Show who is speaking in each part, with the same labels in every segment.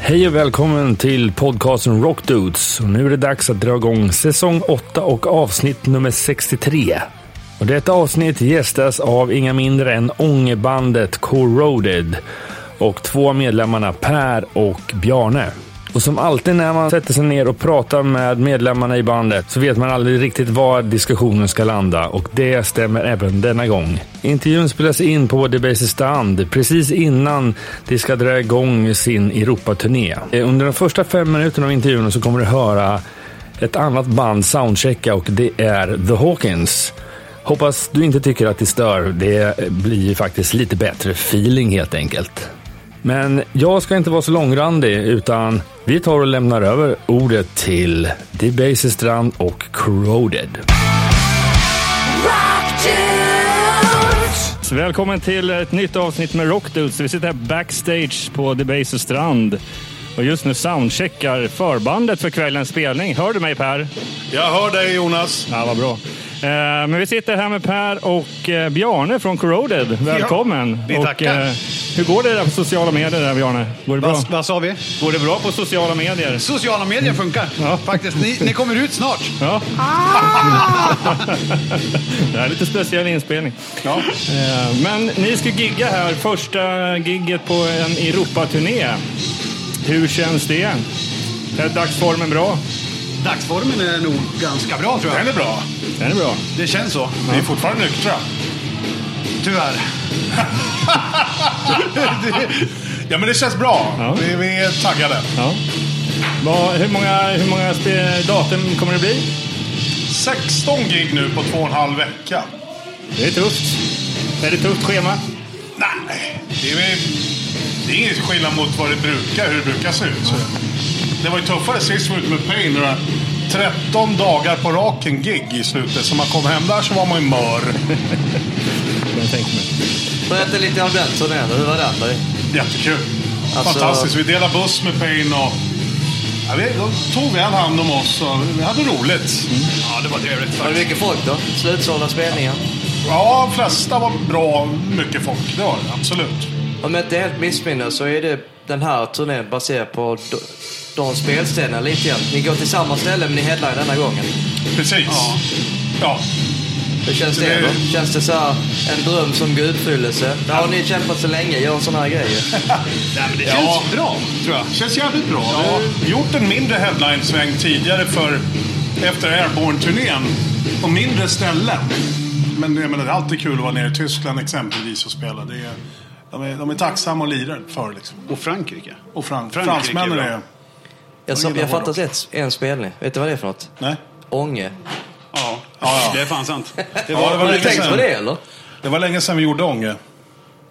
Speaker 1: Hej och välkommen till podcasten Rock Dudes. Och nu är det dags att dra igång säsong 8 och avsnitt nummer 63. Och detta avsnitt gästas av inga mindre än ångerbandet Corroded och två av medlemmarna Per och Bjarne. Och som alltid när man sätter sig ner och pratar med medlemmarna i bandet så vet man aldrig riktigt var diskussionen ska landa och det stämmer även denna gång. Intervjun spelas in på The Basis Stand precis innan de ska dra igång sin Europaturné. Eh, Under de första fem minuterna av intervjun så kommer du höra ett annat band soundchecka och det är The Hawkins. Hoppas du inte tycker att det stör. Det blir ju faktiskt lite bättre feeling helt enkelt. Men jag ska inte vara så långrandig utan vi tar och lämnar över ordet till Debaser Strand och Corroded. Välkommen till ett nytt avsnitt med Rockdudes. Vi sitter här backstage på Debaser Strand och just nu soundcheckar förbandet för kvällens spelning. Hör du mig Per?
Speaker 2: Jag hör dig Jonas.
Speaker 1: Ja, vad bra. Eh, men vi sitter här med Per och eh, Bjarne från Corroded. Välkommen!
Speaker 2: vi
Speaker 1: och,
Speaker 2: tackar.
Speaker 1: eh, hur går det där på sociala medier där Bjarne? Går det bra?
Speaker 2: Vad, vad sa vi?
Speaker 1: Går det bra på sociala medier?
Speaker 2: Sociala medier funkar
Speaker 1: Ja.
Speaker 2: faktiskt. Ni, ni kommer ut snart.
Speaker 1: Ja. det här är lite speciell inspelning.
Speaker 2: Ja.
Speaker 1: Eh, Men ni ska gigga här, första gigget på en Europaturné. Hur känns det? Är dagsformen bra?
Speaker 2: Dagsformen är nog ganska bra tror jag. Den är bra.
Speaker 1: Den är bra.
Speaker 2: Det känns så,
Speaker 3: Vi är fortfarande nyktra.
Speaker 2: tyvärr.
Speaker 3: Ja, men det känns bra.
Speaker 1: Ja.
Speaker 3: Vi, vi är taggade.
Speaker 1: Ja. Vad- hur många, hur många spe- datum kommer det bli?
Speaker 3: 16 gig nu på två och en halv vecka.
Speaker 1: Det är tufft. Är det tufft schema?
Speaker 3: Nej, det är, väl- det är inget skillnad mot vad det brukar, hur det brukar se ut. Så. Det var ju tuffare sist vi var ute med Pain. Några 13 dagar på raken gig i slutet. Så man kom hem där så var man ju mör.
Speaker 1: Jag tänker mig.
Speaker 4: Berätta lite om den turnén, hur var den? Då?
Speaker 3: Jättekul.
Speaker 4: Alltså-
Speaker 3: Fantastiskt. Vi delade buss med Pain och... Ja, vi, de tog väl hand om oss och vi hade roligt. Mm. Ja, det var trevligt.
Speaker 4: Var det mycket folk då? Slutsålda spelningar?
Speaker 3: Ja, de flesta var bra. Mycket folk. Det var det. Absolut.
Speaker 4: Om jag inte helt missminner så är det den här turnén baserad på d- de spelställena lite grann. Ni går till samma ställe men ni headline denna gången.
Speaker 3: Precis. Ja.
Speaker 4: Hur känns
Speaker 3: Det
Speaker 4: det
Speaker 3: är-
Speaker 4: då? Känns det så här, en dröm som går i uppfyllelse? Där har ni kämpat så länge, gör såna här grejer.
Speaker 3: Nej, men det
Speaker 2: Känns bra, tror jag.
Speaker 3: känns jävligt bra. Vi har gjort en mindre headline-sväng tidigare för efter Airborne-turnén. På mindre ställen. Men jag menar, det är alltid kul att vara nere i Tyskland exempelvis och spela. Det är, de, är, de är tacksamma och lirar för liksom.
Speaker 2: Och Frankrike.
Speaker 3: Och fran-
Speaker 2: Frankrike är
Speaker 3: fransmännen
Speaker 2: bra.
Speaker 3: är...
Speaker 4: Jag, sa,
Speaker 3: gillar
Speaker 4: jag fattar
Speaker 3: hårdrock.
Speaker 4: ett, en spelning. Vet du vad det är för något?
Speaker 3: Nej.
Speaker 4: Ånge.
Speaker 2: Ja.
Speaker 3: Ja, ja.
Speaker 2: det är fan sant. Det
Speaker 3: Ja,
Speaker 2: var...
Speaker 3: det var
Speaker 4: Har du
Speaker 3: länge
Speaker 4: tänkt
Speaker 3: sedan.
Speaker 4: på det eller?
Speaker 3: Det var länge sedan vi gjorde Ånge.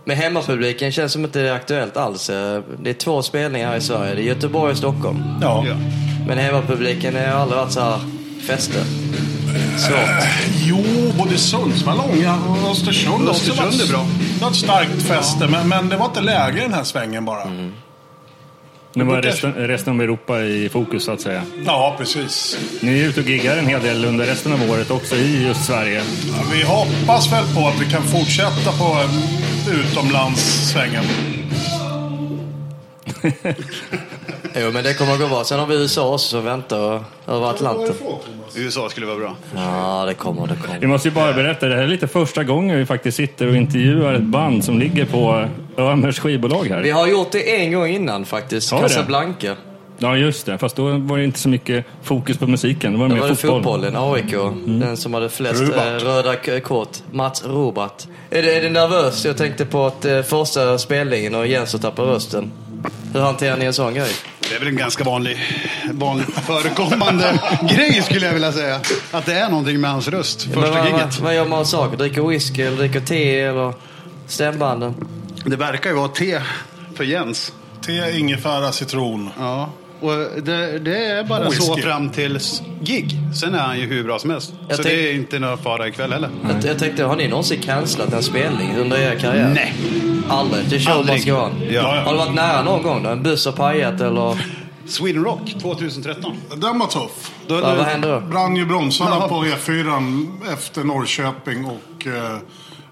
Speaker 4: Med hemmapubliken känns som inte det är aktuellt alls. Eh, Det är två spelningar här i Sverige. Det är Göteborg och Stockholm.
Speaker 3: Ja.
Speaker 2: Ja.
Speaker 4: Men hemmapubliken har aldrig varit så här fäste. Svårt.
Speaker 3: Jo, både Sundsvall, Ånge och Östersund.
Speaker 2: Östersund
Speaker 3: också
Speaker 2: är bra.
Speaker 3: Det var ett starkt fäste, men, men det var inte läge i den här svängen bara.
Speaker 2: Mm.
Speaker 5: Nu var resten, resten av Europa i fokus så att säga.
Speaker 3: Ja, precis.
Speaker 5: Ni är ute och giggar en hel del under resten av året också i just Sverige.
Speaker 3: Ja, Vi hoppas väl på att vi kan fortsätta på eh, utomlandssvängen.
Speaker 4: Jo, men det kommer att gå bra. Sen har vi USA också som väntar och- över Atlanten.
Speaker 2: USA skulle vara bra.
Speaker 4: Ja, det kommer, det kommer.
Speaker 5: Vi måste ju bara berätta, det här är lite första gången vi faktiskt sitter och intervjuar ett band som ligger på Ömers skivbolag
Speaker 4: Vi
Speaker 5: här.
Speaker 4: har gjort det en gång innan faktiskt.
Speaker 5: Har vi det?
Speaker 4: Casablanca.
Speaker 5: Ja, just det. Fast då var det inte så mycket fokus på musiken. Det var
Speaker 4: Då
Speaker 5: mer
Speaker 4: var det
Speaker 5: fotboll. Mm.
Speaker 4: fotbollen, AIK. Den som hade flest
Speaker 3: Rubat.
Speaker 4: eh, röda k- kort. Mats Robat. Är det, är det nervöst? Jag tänkte på att eh, första spelningen och Jens och tappar rösten. Hur hanterar ni en sån grej?
Speaker 2: Det är väl en ganska vanlig, vanligt förekommande grej skulle jag vilja säga. Att det är någonting med hans röst,
Speaker 4: Men
Speaker 2: första
Speaker 4: vad, vad,
Speaker 2: giget.
Speaker 4: vad gör man av saker? Dricker whisky eller dricker te eller stämbanden?
Speaker 2: Det verkar ju vara te för Jens.
Speaker 3: Te, ingefära, citron.
Speaker 2: Ja, och det, det är bara
Speaker 3: Whisky.
Speaker 2: så fram till gig. Sen är han ju hur bra som helst.
Speaker 4: Jag
Speaker 2: så
Speaker 4: tänk-
Speaker 2: det är inte någon fara ikväll heller.
Speaker 4: Jag, jag tänkte, har ni någonsin cancelat en spelning under er karriär?
Speaker 2: Mm. Nej.
Speaker 4: Aldrig? Det kör man
Speaker 2: Aldrig.
Speaker 4: ska ha. en.
Speaker 2: Ja.
Speaker 4: Har det varit nära någon gång då? En buss har pajat eller?
Speaker 2: Sweden Rock 2013.
Speaker 3: Den var tuff.
Speaker 2: Då,
Speaker 4: Vad, vad hände då?
Speaker 3: Brann ju bromsarna
Speaker 2: Ja.
Speaker 3: på E E4 efter Norrköping och eh,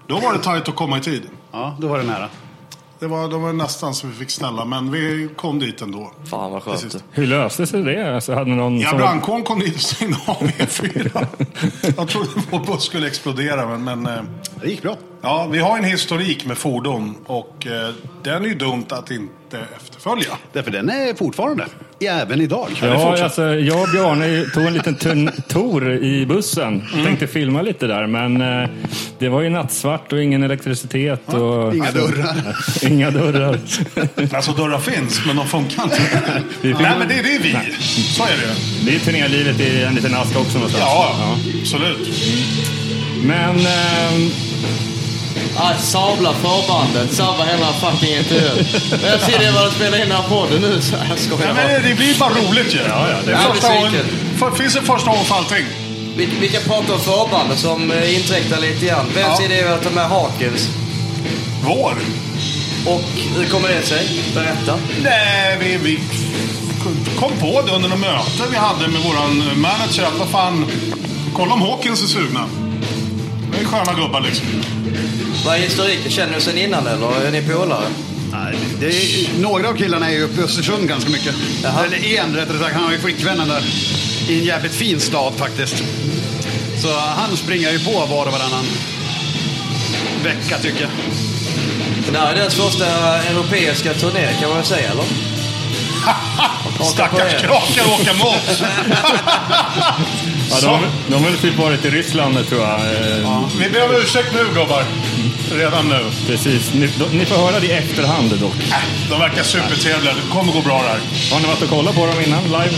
Speaker 3: då var det tajt att komma i tid.
Speaker 2: Ja, då var det nära.
Speaker 3: Det var, de var nästan så vi fick snälla, men vi kom dit ändå.
Speaker 4: Fan vad skönt.
Speaker 3: Precis.
Speaker 5: Hur löste sig det? Alltså, hade någon
Speaker 3: Ja,
Speaker 5: som-
Speaker 3: brandkåren kom dit och stängde av E4. Jag trodde vår buss skulle explodera, men... men eh,
Speaker 2: Det gick bra.
Speaker 3: ja, vi har en historik med fordon och eh, den är ju dumt att inte efterfölja.
Speaker 2: Därför den är fortfarande, även idag.
Speaker 5: Ja, alltså, jag och Bjarne tog en liten turn- tour i bussen. Tänkte filma lite där, men eh, det var ju nattsvart och ingen elektricitet. Och, Alltså,
Speaker 2: Inga dörrar.
Speaker 5: Inga dörrar.
Speaker 3: Alltså dörrar finns, men de funkar inte. Nej, men det, det är vi. Så är det ju.
Speaker 5: Det är turnélivet i en liten ask också någonstans.
Speaker 3: Ja, absolut.
Speaker 5: Men ehm,
Speaker 4: Ah, sabla förbandet, sabba hela fucking intervjun. Men jag ser det vad de spelar in den här podden nu. Så jag skojar
Speaker 3: Nej,
Speaker 4: bara.
Speaker 3: men det blir ju bara roligt ju. Ja, ja, det
Speaker 4: är
Speaker 3: första
Speaker 4: besviken.
Speaker 3: gången, för, finns en första gång för allting.
Speaker 4: Vi, vi kan prata om förbandet som eh, inkräktar lite grann. Vems
Speaker 3: Ja.
Speaker 4: idé var att ta med Hawkins?
Speaker 3: Vår.
Speaker 4: Och hur kommer det sig? Berätta.
Speaker 3: Nej, vi, vi kom på det under något möte vi hade med våran manager. Att vad fan, kolla om Hawkins är sugna. Det är sköna gubbar liksom.
Speaker 4: Vad är historiken? Känner du sen innan eller är ni polare?
Speaker 2: Nej, det är, några av killarna är ju uppe i Östersund ganska mycket.
Speaker 4: Jaha.
Speaker 2: Eller en rättare sagt, han har ju flickvännen där. I en jävligt fin stad faktiskt. Så han springer ju på var och varannan vecka tycker jag.
Speaker 4: Så Det här är deras första europeiska turné kan man väl säga eller? på er.
Speaker 3: Stackars krakar åka med oss.
Speaker 5: ja, de,
Speaker 3: Så.
Speaker 5: de har väl typ varit i Ryssland tror jag. Eh,
Speaker 3: Vi ber om ursäkt nu gubbar. Redan nu.
Speaker 5: Precis. Ni, de, ni får höra det i efterhand dock.
Speaker 3: Äh, De verkar supertrevliga. Det kommer gå bra det här.
Speaker 5: Har ni varit och kollat på dem innan live?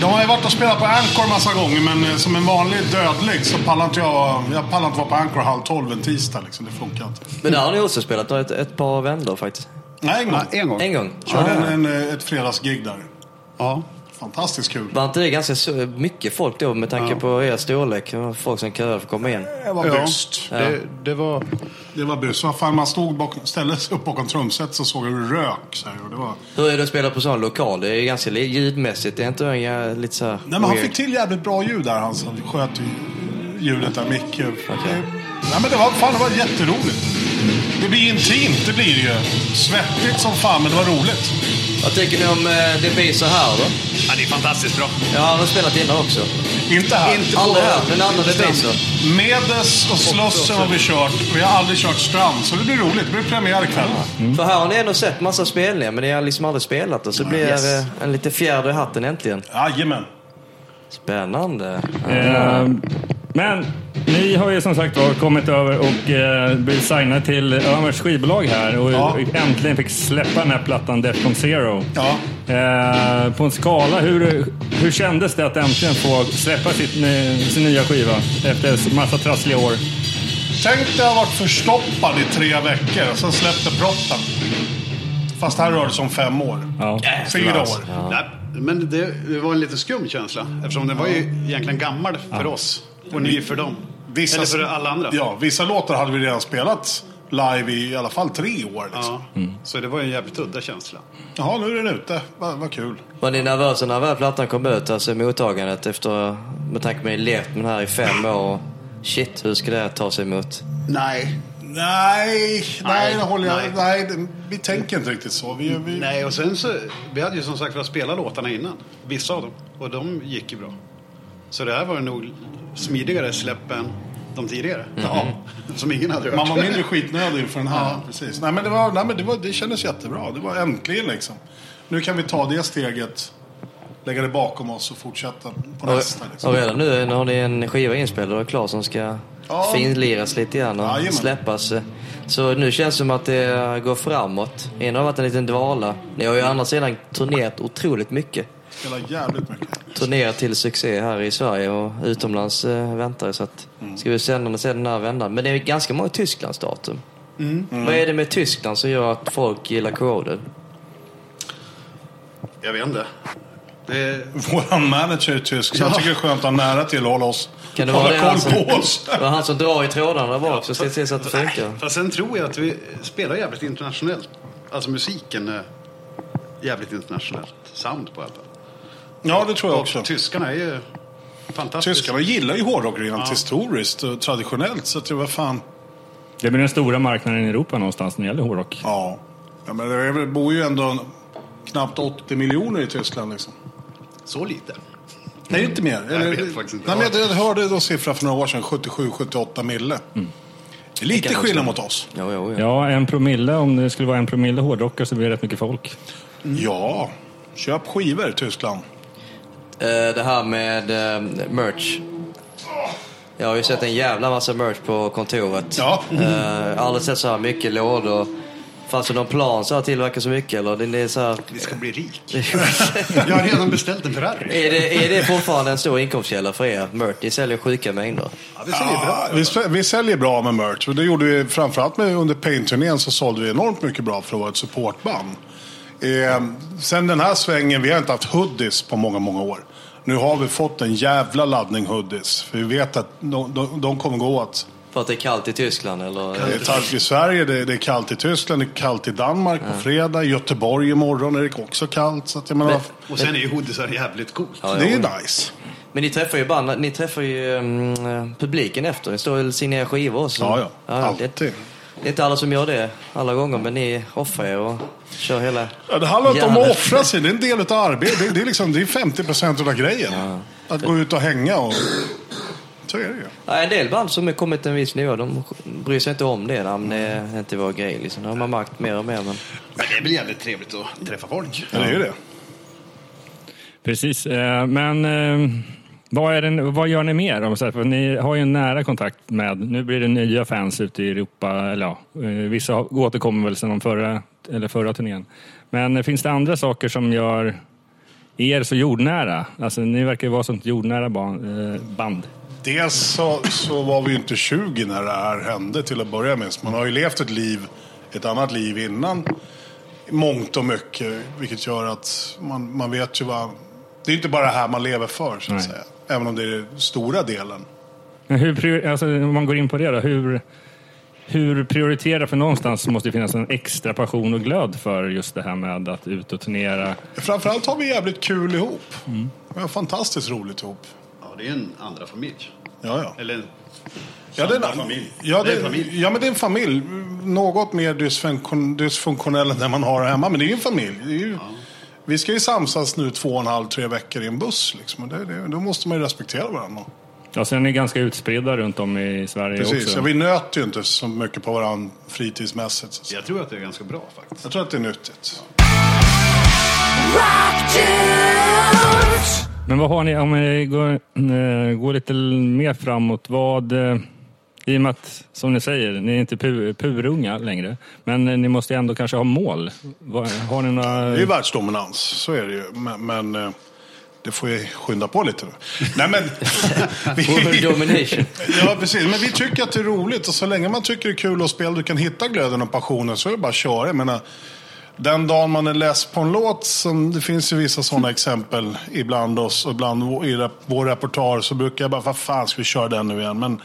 Speaker 3: De har ju varit och spelat på Anchor massa gånger, men eh, som en vanlig dödlig så pallar inte jag... Jag pallar inte vara på Anchor halv tolv en tisdag liksom. Det funkar inte.
Speaker 4: Men där har ni också spelat ett, ett par vändor faktiskt.
Speaker 3: Nej, en gång.
Speaker 2: Ja, en gång.
Speaker 4: En gång.
Speaker 3: Körde
Speaker 4: Ah.
Speaker 3: en, en, eh, ett fredagsgig där.
Speaker 2: Ja.
Speaker 3: Fantastiskt kul.
Speaker 4: Var inte det ganska så- mycket folk då med tanke på er storlek? Det var Folk som köade för att komma in.
Speaker 3: Det var
Speaker 2: Ja.
Speaker 3: byst.
Speaker 2: Det, det var...
Speaker 3: Det var byst. Vad fan, man stod bakom, ställde sig upp bakom trumset så såg jag hur det rök. Så här, och det var...
Speaker 4: Hur är det att spela på sån lokal? Det är ju ganska li- ljudmässigt. Det är inte en, ja, lite så här
Speaker 3: Nej, men han
Speaker 4: weird.
Speaker 3: fick till jävligt bra ljud där. Han som sköt ju- ljudet där, Micke. Det- Nej, men det var, fan, det var jätteroligt. Det blir intimt, det blir det ju. Svettigt som fan, men det var roligt.
Speaker 4: Vad tycker ni om eh, det blir så här då?
Speaker 2: Ja, det är fantastiskt bra.
Speaker 4: Ja, han har spelat innan också.
Speaker 3: Inte här.
Speaker 2: Inte
Speaker 4: Aldrig hört den andra det blir så.
Speaker 3: Medes och Slussen har vi kört. Vi har aldrig kört Strand, så det blir roligt. Det blir premiär ikväll.
Speaker 4: För här har ni ändå sett massa spelningar men ni har liksom aldrig spelat och så blir
Speaker 2: Yes.
Speaker 4: det eh, en lite fjärde i hatten äntligen.
Speaker 3: Jajamän.
Speaker 4: Spännande.
Speaker 5: Ehm, men ni har ju som sagt var kommit över och eh, blivit signade till Ömers skivbolag här och
Speaker 3: Ja.
Speaker 5: äntligen fick släppa den här plattan Defcon Zero.
Speaker 3: Ja.
Speaker 5: Ehm, på en skala, hur, hur kändes det att äntligen få släppa sitt, ny- sin nya skiva efter massa trassliga år?
Speaker 3: Tänk dig att ha varit förstoppad i tre veckor och sen släppte proppen. Fast här rör det sig om fem år.
Speaker 5: Ja.
Speaker 3: Fyra år.
Speaker 2: Nej, men det, det var en lite skum känsla. Eftersom den var ju egentligen gammal för oss. Och ny för dem.
Speaker 3: Vissa,
Speaker 2: Eller för alla andra.
Speaker 3: Ja, vissa låtar hade vi redan spelat live i, i alla fall tre år. Liksom.
Speaker 2: Ja. Så det var ju en jävligt udda känsla.
Speaker 3: Jaha, nu är den ute. Vad vad kul.
Speaker 4: Var ni nervösa när väl plattan kom ut? Alltså mottagandet efter, med tanke på att ni levt med den här i fem år. Shit, hur ska det här ta sig emot?
Speaker 2: Nej.
Speaker 3: Nej, nej, det håller jag.
Speaker 2: nej.
Speaker 3: Nej. det- vi tänker inte riktigt så. Vi, vi,
Speaker 2: Nej, och sen så, vi hade ju som sagt velat spela låtarna innan. Vissa av dem. Och de gick ju bra. Så det här var nog smidigare släpp än de tidigare. Ja. Som ingen hade hört.
Speaker 3: Man var mindre skitnödig inför den här. Precis. Nej, men, det, var, nej, men det, var, det kändes jättebra. Det var äntligen liksom. Nu kan vi ta det steget, lägga det bakom oss och fortsätta på nästa.
Speaker 4: Och
Speaker 3: Liksom.
Speaker 4: redan nu har ni en skiva inspelad och klar som ska
Speaker 3: Ja.
Speaker 4: finliras lite grann och
Speaker 3: Jajamän.
Speaker 4: släppas. Så nu känns det som att det går framåt. Innan har det varit en liten dvala. Ni har ju å andra sidan turnerat otroligt mycket.
Speaker 3: Spela jävligt mycket.
Speaker 4: Turnerat till succé här i Sverige och utomlands eh, väntar det, så att
Speaker 3: Mm.
Speaker 4: ska vi sända den sen den här vändan. Men det är ganska många Tysklandsdatum.
Speaker 3: Mm.
Speaker 4: Vad är det med Tyskland som gör att folk gillar Corroded?
Speaker 2: Jag vet inte. Eh, Det,
Speaker 3: Våran manager är tysk, så jag
Speaker 2: Ja.
Speaker 3: tycker det är skönt att ha nära till och hålla oss...
Speaker 4: Kan det
Speaker 3: hålla
Speaker 4: vara det,
Speaker 3: koll
Speaker 4: alltså?
Speaker 3: på oss.
Speaker 4: Det var han som drar i trådarna där bak så se till så att det funkar.
Speaker 2: Fast sen tror jag att vi spelar jävligt internationellt. Alltså musiken är jävligt internationellt. Sound på allt.
Speaker 3: Ja, det tror jag också.
Speaker 2: Och tyskarna är ju fantastiska.
Speaker 3: Tyskarna gillar ju hårdrock rent historiskt och traditionellt. Så att det var fan...
Speaker 5: Det blir den stora marknaden i Europa någonstans när det gäller hårdrock.
Speaker 3: Ja. ja men det är väl- bor ju ändå knappt 80 miljoner i Tyskland liksom.
Speaker 2: Så lite.
Speaker 3: Nej, inte mer. Eller,
Speaker 2: vet faktiskt inte.
Speaker 3: Nej, men jag hörde en siffra för några år sedan, 77-78 mille. Det är lite
Speaker 4: kan
Speaker 3: skillnad
Speaker 4: nog
Speaker 3: mot oss.
Speaker 4: Jo, jo, jo.
Speaker 5: Ja, en promille. Om det skulle vara en promille hårdrockare så blir det rätt mycket folk.
Speaker 2: Mm.
Speaker 3: Ja, köp skivor Tyskland.
Speaker 4: Eh, det här med eh, merch. Jag har ju sett en jävla massa merch på kontoret.
Speaker 3: Ja.
Speaker 4: Eh, aldrig sett så här mycket lådor. Fanns det någon plan så att tillverka så mycket? Eller det det är, så här,
Speaker 2: Vi ska bli rik. Jag har redan beställt en Ferrari.
Speaker 4: är, det, är det fortfarande en stor inkomstkälla för er? Merch, ni säljer sjuka mängder.
Speaker 2: Ja, vi säljer bra.
Speaker 3: vi, sä- vi säljer bra med merch. Det gjorde vi framförallt med, under Paint-turnén så sålde vi enormt mycket bra för att vara ett supportband. Eh, sen den här svängen, vi har inte haft hoodies på många, många år. Nu har vi fått en jävla laddning hoodies. För vi vet att de, de, de kommer gå åt.
Speaker 4: För att det är kallt i Tyskland eller?
Speaker 3: Det är kallt i Sverige, det, det är kallt i Tyskland, det är kallt i Danmark på fredag. I Göteborg imorgon är det också kallt. Så att jag menar,
Speaker 2: Och sen är ju hoodisar jävligt coolt.
Speaker 4: Ja,
Speaker 3: det
Speaker 4: ja.
Speaker 3: är nice.
Speaker 4: Men ni träffar ju band, ni träffar ju mm, publiken efter. Ni står och signerar skivor också.
Speaker 3: Ja, ja.
Speaker 4: det,
Speaker 3: Alltid.
Speaker 4: det är inte alla som gör det alla gånger, men ni offrar er och kör hela...
Speaker 3: Ja, det handlar inte om att
Speaker 4: Hjärnet.
Speaker 3: offra sig, det är en del av arbetet. Det, det, är liksom, det är 50% av grejen. Att gå ut och hänga och... Så är det ju.
Speaker 4: Ja, en del band som har kommit till en viss nivå, de bryr sig inte om det. Nej, men det är inte vår grej liksom. Det har man märkt mer och mer. Men...
Speaker 2: Men det är väl jävligt trevligt att träffa folk.
Speaker 3: Ja. Det är ju det.
Speaker 5: Precis, eh, men eh, vad, är den, vad gör ni mer? Om så här, för ni har ju en nära kontakt med, nu blir det nya fans ute i Europa, eller ja, eh, vissa har- återkommer väl sedan de förra, eller förra turnén. Men eh, finns det andra saker som gör er så jordnära? Alltså ni verkar ju vara sånt jordnära ban- eh, band.
Speaker 3: Dels så, så var vi ju inte 20 när det här hände till att börja med. Så man har ju levt ett liv, ett annat liv innan. i Mångt och mycket. Vilket gör att man, man vet ju vad... Det är ju inte bara det här man lever för, så att
Speaker 5: Nej.
Speaker 3: säga. Även om det är den stora delen.
Speaker 5: Men hur, prior- alltså, om man går in på det då, hur, hur prioriterar för någonstans måste det finnas en extra passion och glöd för just det här med att ut och turnera?
Speaker 3: Framförallt har vi jävligt kul ihop. Vi har fantastiskt roligt ihop.
Speaker 2: Ja, det är en andra familj.
Speaker 3: Ja, ja.
Speaker 2: Eller
Speaker 3: Ja, det är
Speaker 2: Samma
Speaker 3: en
Speaker 2: familj.
Speaker 3: Ja,
Speaker 2: Det
Speaker 3: det,
Speaker 2: är en familj.
Speaker 3: ja, men det är en familj. Något mer dysfunktion, dysfunktionell än den man har hemma. Men det är ju en familj. Det är ju, Vi ska ju samsas nu två och en halv, tre veckor i en buss. Liksom. Och Det, det, då måste man ju respektera varandra.
Speaker 5: Ja, sen är ni ganska utspridda runt om i Sverige
Speaker 3: Precis.
Speaker 5: också.
Speaker 3: Ja, vi nöter ju inte så mycket på varandra fritidsmässigt. Så. att säga.
Speaker 2: jag tror att det är ganska bra faktiskt.
Speaker 3: Jag tror att det är nyttigt.
Speaker 6: Rock dudes.
Speaker 5: Men vad har ni, om vi går, eh, går lite mer framåt, vad... eh, I och med att, som ni säger, ni är inte pu, purunga längre. Men eh, ni måste ju ändå kanske ha mål. Vad- Har ni
Speaker 3: Det är ju
Speaker 5: några...
Speaker 3: världsdominans, så är det ju. Men, men eh, det får ju skynda på lite nu. Nej, men...
Speaker 4: World domination.
Speaker 3: Ja, precis. Men vi tycker att det är roligt och så länge man tycker det är kul att spela, du kan hitta glöden och passionen så är det bara att köra. Jag menar, den dagen man är less på en låt, som det finns ju vissa sådana exempel ibland oss och ibland vår- i rep- vår repertoar, så brukar jag bara, vad fan ska vi köra den nu igen? Men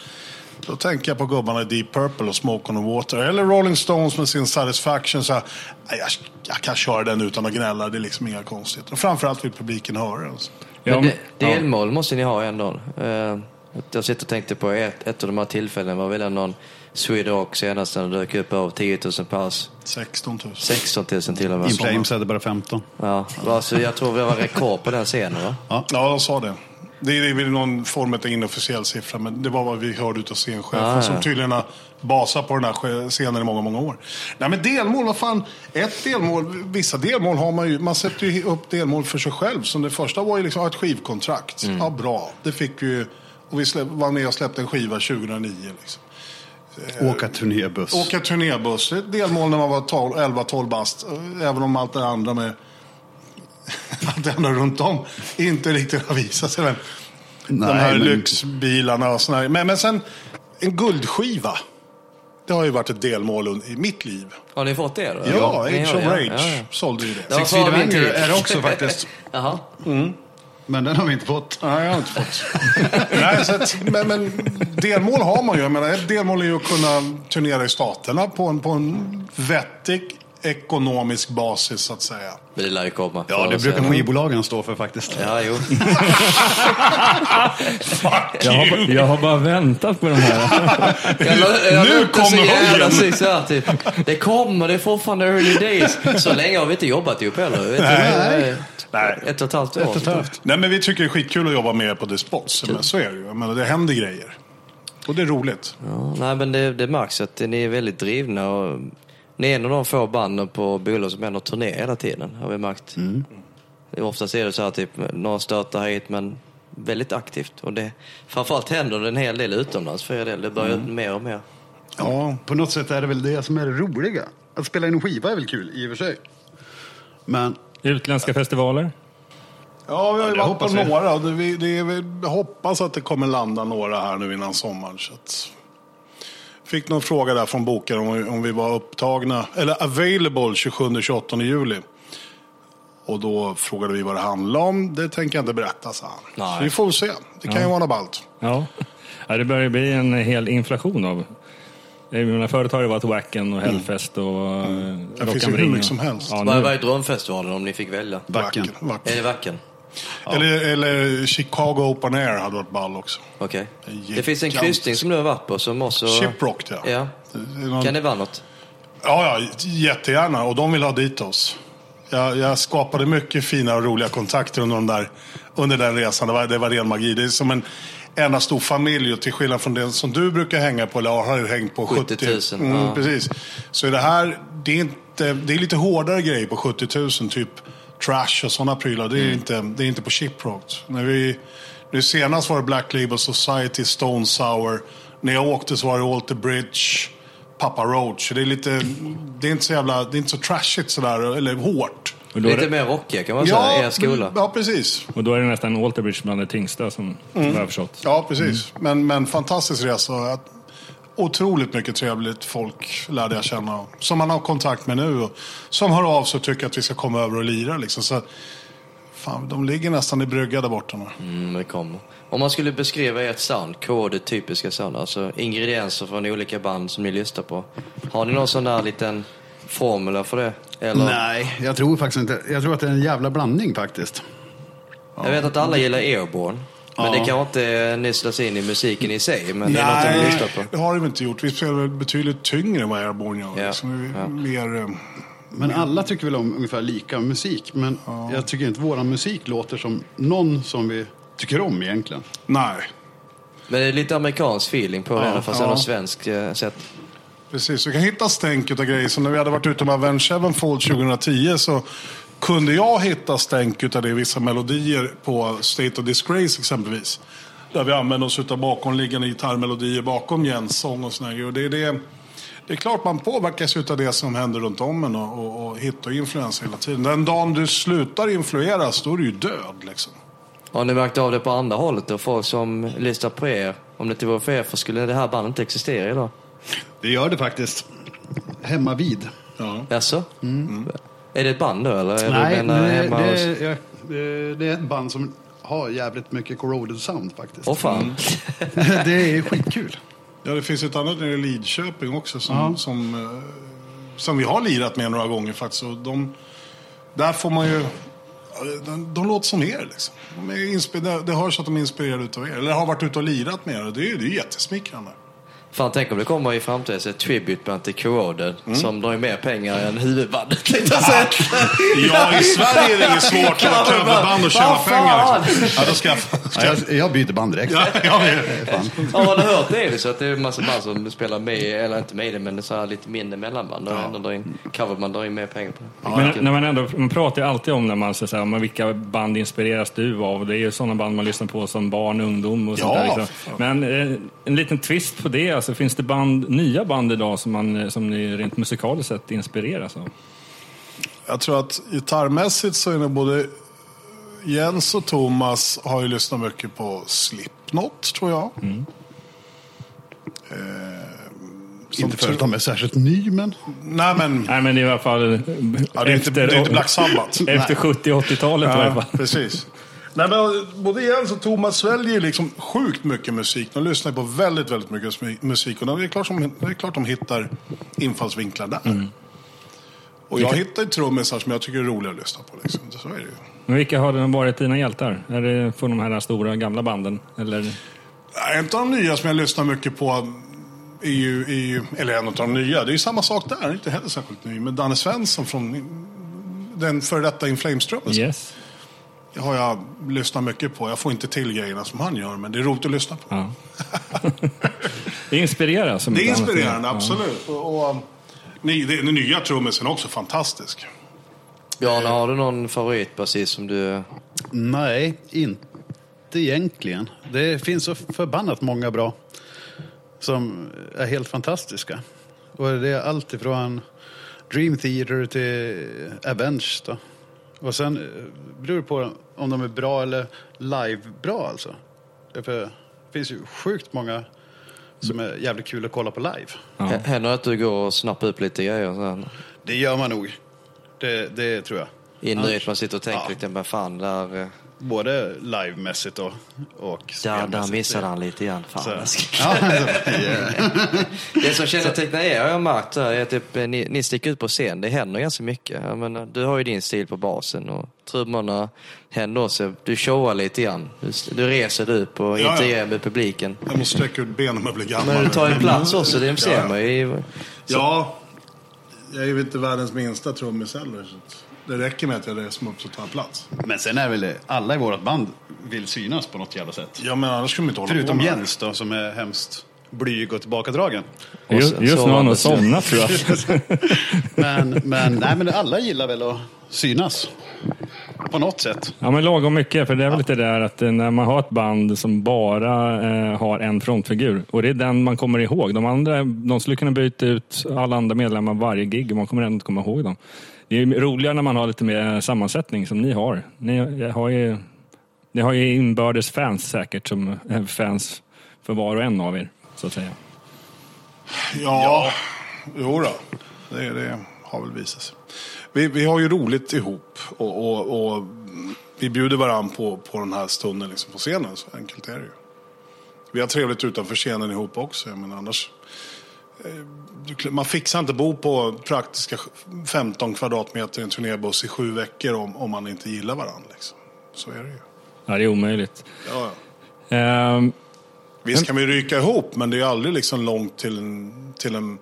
Speaker 3: då tänker jag på gubbarna i Deep Purple och Smoke on the Water. Eller Rolling Stones med sin Satisfaction. Så här, "Nej, jag, jag kan köra den utan att gnälla, det är liksom inga konstigheter. Och framförallt vill publiken höra alltså. den. så.
Speaker 5: Ja,
Speaker 4: Men
Speaker 5: men-
Speaker 4: det, delmål måste ni ha ändå. Eh, jag sitter och tänkte på ett, ett av de här tillfällena var väl någon Swede Rock senast när det dök upp av 10 000 pers.
Speaker 3: 16 000.
Speaker 4: 16 000 till och med.
Speaker 2: In Flames hade bara 15.
Speaker 4: Ja, alltså, jag tror vi var rekord på den scenen va?
Speaker 3: Ja, de sa det. Det är väl någon form av inofficiell siffra, men det var vad vi hörde utav scenchefen
Speaker 4: Ah, ja.
Speaker 3: som tydligen har basat på den här ske- scenen i många, många år. Nej, men delmål, vad fan. Ett delmål, vissa delmål har man ju, man sätter ju upp delmål för sig själv. Som det första var ju liksom ett skivkontrakt.
Speaker 4: Mm.
Speaker 3: Ja, bra. Det fick vi ju. Och vi slä, var med och släppte en skiva 2009. Liksom.
Speaker 2: Eh, Åka turnébuss.
Speaker 3: Åka turnébuss, det är ett delmål när man var 12 11-12 bast. Även om allt det andra med allt det andra runt om inte riktigt har visat sig. Men de här
Speaker 2: men-
Speaker 3: lyxbilarna och sådär. Men, men sen, en guldskiva. Det har ju varit ett delmål un- i mitt liv.
Speaker 4: Har ni fått det då?
Speaker 3: Ja,
Speaker 4: Ni
Speaker 3: Age
Speaker 4: har
Speaker 3: of
Speaker 4: det, ja,
Speaker 3: Rage
Speaker 4: ja, ja.
Speaker 3: sålde ju det.
Speaker 4: Det var
Speaker 2: Six Feet
Speaker 4: bara min
Speaker 2: Under
Speaker 4: tid.
Speaker 2: är det också faktiskt.
Speaker 4: Jaha.
Speaker 2: Men den har vi inte fått.
Speaker 3: Nej, jag har inte fått. Nej, så att, men, men delmål har man ju. Jag menar, ett delmål är ju att kunna turnera i staterna på en, på en vettig ekonomisk basis så att säga.
Speaker 4: Men det lär ju komma.
Speaker 2: Ja, det brukar
Speaker 4: man
Speaker 2: skivbolagen stå för faktiskt.
Speaker 4: Ja, jo.
Speaker 5: Jag har, jag har bara väntat på de här.
Speaker 4: Jag, la- jag
Speaker 3: Nu
Speaker 4: låter så
Speaker 3: kommer
Speaker 4: jävla
Speaker 3: huggen.
Speaker 4: sist här, typ. Det kommer, det är fortfarande early days. Så länge har vi inte jobbat ihop heller. Vet du,
Speaker 3: Nej.
Speaker 4: Nej. Ett och ett halvt år.
Speaker 2: Ett och ett halvt.
Speaker 3: Nej, men vi tycker det är skitkul att jobba med er på Dispons. Men så är det ju. Jag menar, det händer grejer. Och det är roligt.
Speaker 4: Ja, nej, men det, det märks att ni är väldigt drivna. Och ni är en av de få banden på bolag som ändå turnerar hela tiden, har vi märkt. Mm. Oftast är det så här, typ, några stötar hit, men väldigt aktivt. Och det, framförallt händer det en hel del utomlands för er del. Det börjar
Speaker 5: Mm.
Speaker 4: mer och mer.
Speaker 2: Ja, på något sätt är det väl det som är det roliga. Att spela in en skiva är väl kul i och för sig. Men
Speaker 5: Utländska festivaler.
Speaker 3: Ja, vi har ju
Speaker 2: det
Speaker 3: varit på
Speaker 2: hoppas vi.
Speaker 3: några. och Det, vi, det, vi hoppas att det kommer landa några här nu innan sommaren. Så att... Fick någon fråga där från boken om, vi- om vi var upptagna, eller available 27-28 juli. Och då frågade vi vad det handlade om. Det tänker jag inte berätta, sa han.
Speaker 4: Nej.
Speaker 3: Så vi får väl se. Det kan ju vara något ballt.
Speaker 5: Ja. ja, det börjar bli en hel inflation av... Jag menar, förut har det varit Wacken och Hellfest och... Mm.
Speaker 3: Det finns ju hur mycket som helst.
Speaker 5: Ja,
Speaker 4: Vad
Speaker 5: nu,
Speaker 4: vad är drömfestivalen om ni fick välja?
Speaker 2: Backen.
Speaker 3: Vacken, vacken.
Speaker 4: Är det Vacken?
Speaker 3: Eller, eller Chicago Open Air hade varit ball också.
Speaker 4: Okej.
Speaker 3: Gigantisk.
Speaker 4: Det finns en kryssning som du har varit på som också...
Speaker 3: Shiprock, det.
Speaker 4: Ja.
Speaker 3: Det är någon-
Speaker 4: Kan det vara något?
Speaker 3: Ja, ja, jättegärna. Och de vill ha dit oss. Jag, jag skapade mycket fina och roliga kontakter under, de där, under den resan. Det var, det var ren magi. Det är som en enda stor familj. Och till skillnad från den som du brukar hänga på, eller har hängt på 70
Speaker 4: 70 000,
Speaker 3: Mm,
Speaker 4: ja.
Speaker 3: Precis. Så är det här, det är, inte, det är lite hårdare grejer på 70 000. Typ trash och sådana prylar. Det är, inte, det är inte på Shiprock. När vi, nu senast var det Black Label Society, Stone Sour. När jag åkte så var det Alter Bridge. Papa Roach. Så Det är lite, det är inte så jävla, det är inte så trashigt sådär, eller hårt.
Speaker 5: och, då är
Speaker 4: Lite
Speaker 5: det,
Speaker 4: mer rockiga kan man säga, er Alltså, skola.
Speaker 3: Ja, precis.
Speaker 5: och då är det nästan Alterbridge bland det tyngsta
Speaker 3: Mm.
Speaker 5: som jag har förstått.
Speaker 3: Ja, precis. Men, men fantastisk resa. Att- Otroligt mycket trevligt folk lärde jag känna. Som man har kontakt med nu. Och, som hör av sig och tycker att vi ska komma över och lira. Liksom. Så, fan, de ligger nästan i brygga där borta nu.
Speaker 4: Mm, det kommer. Om man skulle beskriva ert sound, K, det typiska sound, alltså ingredienser från olika band som ni lyssnar på. Har ni någon sån där liten formula för det? Eller,
Speaker 2: nej, jag tror faktiskt inte. Jag tror att det är en jävla blandning faktiskt.
Speaker 4: Jag vet att alla gillar Airborne. Men
Speaker 2: Ja.
Speaker 4: det kanske inte nysslas in i musiken i sig, men det är något ni lyssnar på.
Speaker 3: det har de inte gjort. Vi spelar väl betydligt tyngre än vad Airborne gör.
Speaker 4: Ja,
Speaker 3: Liksom, vi, är
Speaker 4: ja.
Speaker 3: mer, eh,
Speaker 2: Men alla tycker väl om ungefär lika musik. Men jag tycker inte våran musik låter som någon som vi tycker om egentligen.
Speaker 3: nej,
Speaker 4: Men det är lite amerikansk feeling på det, ja, fast
Speaker 3: ja.
Speaker 4: ändå svensk eh, sätt.
Speaker 3: Precis, vi kan hitta stänket av grejer. Så när vi hade varit ute med Avenged Sevenfold 2010 så kunde jag hitta stänk av det i vissa melodier på State of Disgrace exempelvis. Där vi använde oss av bakomliggande gitarrmelodier bakom Jens sång och såna grejer. Och det, är det, det är klart man påverkas av det som händer runt om en och, och, och hittar influenser hela tiden. Den dagen du slutar influeras, då är du ju död liksom.
Speaker 4: Har ni märkt av det på andra hållet då? Folk som lyssnar på er. Om det inte vore för er, för skulle det här bandet inte existera idag?
Speaker 2: Det gör det faktiskt. Hemma vid.
Speaker 4: Jaså? Är det ett band då, eller? Är det,
Speaker 2: Mm. Nej,
Speaker 4: en, eh,
Speaker 2: det,
Speaker 4: hemma hos-
Speaker 2: det, jag, eh, det är ett band som har jävligt mycket corroded sound faktiskt.
Speaker 4: Åh fan.
Speaker 2: det är skitkul.
Speaker 3: Ja, det finns ett annat nere i Lidköping också som, som, eh, som vi har lirat med några gånger faktiskt. Och de, där får man ju... ja, De, de låter som er liksom. De är inspi- det- det hörs att de är inspirerade utav er. Eller har varit ute och lirat med er. Och Det är ju det är ju jättesmickrande.
Speaker 4: Fan, tänk om det kommer i framtiden så ett tributeband till Corroded
Speaker 2: Mm.
Speaker 4: som drar in mer pengar än huvudbandet. tänkte jag säga.
Speaker 3: Ja, i Sverige är det inget svårt att vara ett huvudband och tjäna
Speaker 4: Vad fan?
Speaker 3: pengar. Liksom. Ja, då ska jag...
Speaker 2: Ja, jag, jag byter band direkt.
Speaker 3: Ja, ja, ja.
Speaker 2: Fan.
Speaker 4: Har du hört det? Så att det är en massa band som spelar med, eller inte med det, men så här lite mindre mellanband. Och ändå drar in coverband drar in mer pengar på det.
Speaker 5: Men när man ändå, man pratar ju alltid om när man säger så här, men vilka band inspireras du av? Det är ju sådana band man lyssnar på som barn, ungdom och sånt
Speaker 3: Ja,
Speaker 5: där. Liksom.
Speaker 3: fan.
Speaker 5: Men eh, en liten twist på det, alltså, finns det band, nya band idag som, man, eh, som ni rent musikaliskt sett inspireras av?
Speaker 3: Jag tror att gitarrmässigt så är nog både Jens och Thomas har ju lyssnat mycket på Slipknot, tror jag.
Speaker 2: Inte för att de är särskilt ny, men...
Speaker 3: Nej, men...
Speaker 5: Nej men det är i alla fall eh,
Speaker 3: Ja, det är inte, det är inte Black Sabbath.
Speaker 5: efter 70-80-talet i alla
Speaker 3: Ja,
Speaker 5: fall.
Speaker 3: precis. Nej, men både Jens och Thomas sväljer ju liksom sjukt mycket musik. De lyssnar ju på väldigt, väldigt mycket
Speaker 5: Mm.
Speaker 3: smi- musik. Och det är klart, som, det är klart de hittar infallsvinklar där. Och jag hittar ju trummisar som jag tycker är roliga att lyssna på. Liksom. Så är det ju.
Speaker 5: Men vilka har de varit dina hjältar? Är det från de här stora gamla banden? Eller?
Speaker 3: Nej, En av de nya som jag lyssnar mycket på är ju, är ju eller en av de nya, det är ju samma sak där, inte heller särskilt ny, men Danne Svensson från den före detta In Flames-trummisen
Speaker 5: Yes.
Speaker 3: har jag lyssnat mycket på. Jag får inte till grejerna som han gör, men det är roligt att lyssna på.
Speaker 5: Ja. Inspirera. Som
Speaker 3: Det är
Speaker 5: ett annat
Speaker 3: inspirerande,
Speaker 5: ord.
Speaker 3: absolut. Och, och, ny, det- den nya trummisen är också fantastisk.
Speaker 4: Bjarne, har du någon favoritbasist som du...
Speaker 2: Nej, inte egentligen. Det finns så förbannat många bra som är helt fantastiska. Och det är allt ifrån Dream Theater till Avenge. Då. Och sen eh, beror det på om de är bra eller live-bra alltså. För det finns ju sjukt många som är jävligt kul att kolla på live.
Speaker 4: Ja. Händer det att du går och snappar upp lite grejer? Så här,
Speaker 2: Det gör man nog. Det, det tror jag.
Speaker 4: Inre att man sitter och tänker
Speaker 2: Ja.
Speaker 4: lite, men fan, där, eh,
Speaker 2: Både livemässigt och, och
Speaker 4: där, där
Speaker 2: spelmässigt.
Speaker 4: missade han lite grann. Fan,
Speaker 2: Så-
Speaker 4: jag ska-
Speaker 2: Ja, alltså.
Speaker 4: Det som kännetecknar er har jag märkt här är att typ, eh, ni, ni sticker ut på scen. Det händer ganska mycket. Jag menar, du har ju din stil på basen och trummorna händer också. Du showar lite grann. Du, s- du reser dig upp
Speaker 3: Ja,
Speaker 4: och
Speaker 3: ja.
Speaker 4: interagerar med publiken.
Speaker 3: Jag måste sträcka ut benen om jag blir gammal.
Speaker 4: Men du tar ju plats också, det ser
Speaker 3: Ja.
Speaker 4: man ju. i-
Speaker 3: Ja, jag är ju inte världens minsta trummis heller. Så att det räcker med att jag reser mig upp så tar jag plats.
Speaker 2: Men sen är väl det- alla i vårt band vill synas på något jävla sätt.
Speaker 3: Ja, men annars skulle man inte hålla
Speaker 2: Förutom
Speaker 3: på med
Speaker 2: Jens då som är hemskt blyg och tillbakadragen.
Speaker 5: Just,
Speaker 4: Och så-
Speaker 5: just nu har han nog
Speaker 4: så-
Speaker 5: somnat tror jag.
Speaker 2: Men, men, nej, men alla gillar väl att synas. På något sätt.
Speaker 5: Ja, men lagom mycket. För det är väl lite där att eh, när man har ett band som bara eh, har en frontfigur och det är den man kommer ihåg. De andra, de skulle kunna byta ut alla andra medlemmar varje gig och man kommer ändå inte komma ihåg dem. Det är ju roligare när man har lite mer sammansättning som ni har. Ni har ju, ni har ju inbördes fans säkert som är fans för var och en av er. Så att säga.
Speaker 3: Ja, jo då. Det, det har väl visat sig. Vi, vi har ju roligt ihop och, och, och vi bjuder varandra på, på den här stunden liksom på scenen. Så enkelt är det ju. Vi har trevligt utanför scenen ihop också. Men annars, eh, du kl- man fixar inte bo på praktiska sj- 15 kvadratmeter i en turnébuss i sju veckor om, om man inte gillar varandra. Liksom. Så är det ju.
Speaker 5: Ja, det är omöjligt.
Speaker 3: Ja, ja.
Speaker 5: Ehm,
Speaker 3: Visst kan vi ryka ihop, men det är aldrig liksom långt till en, till en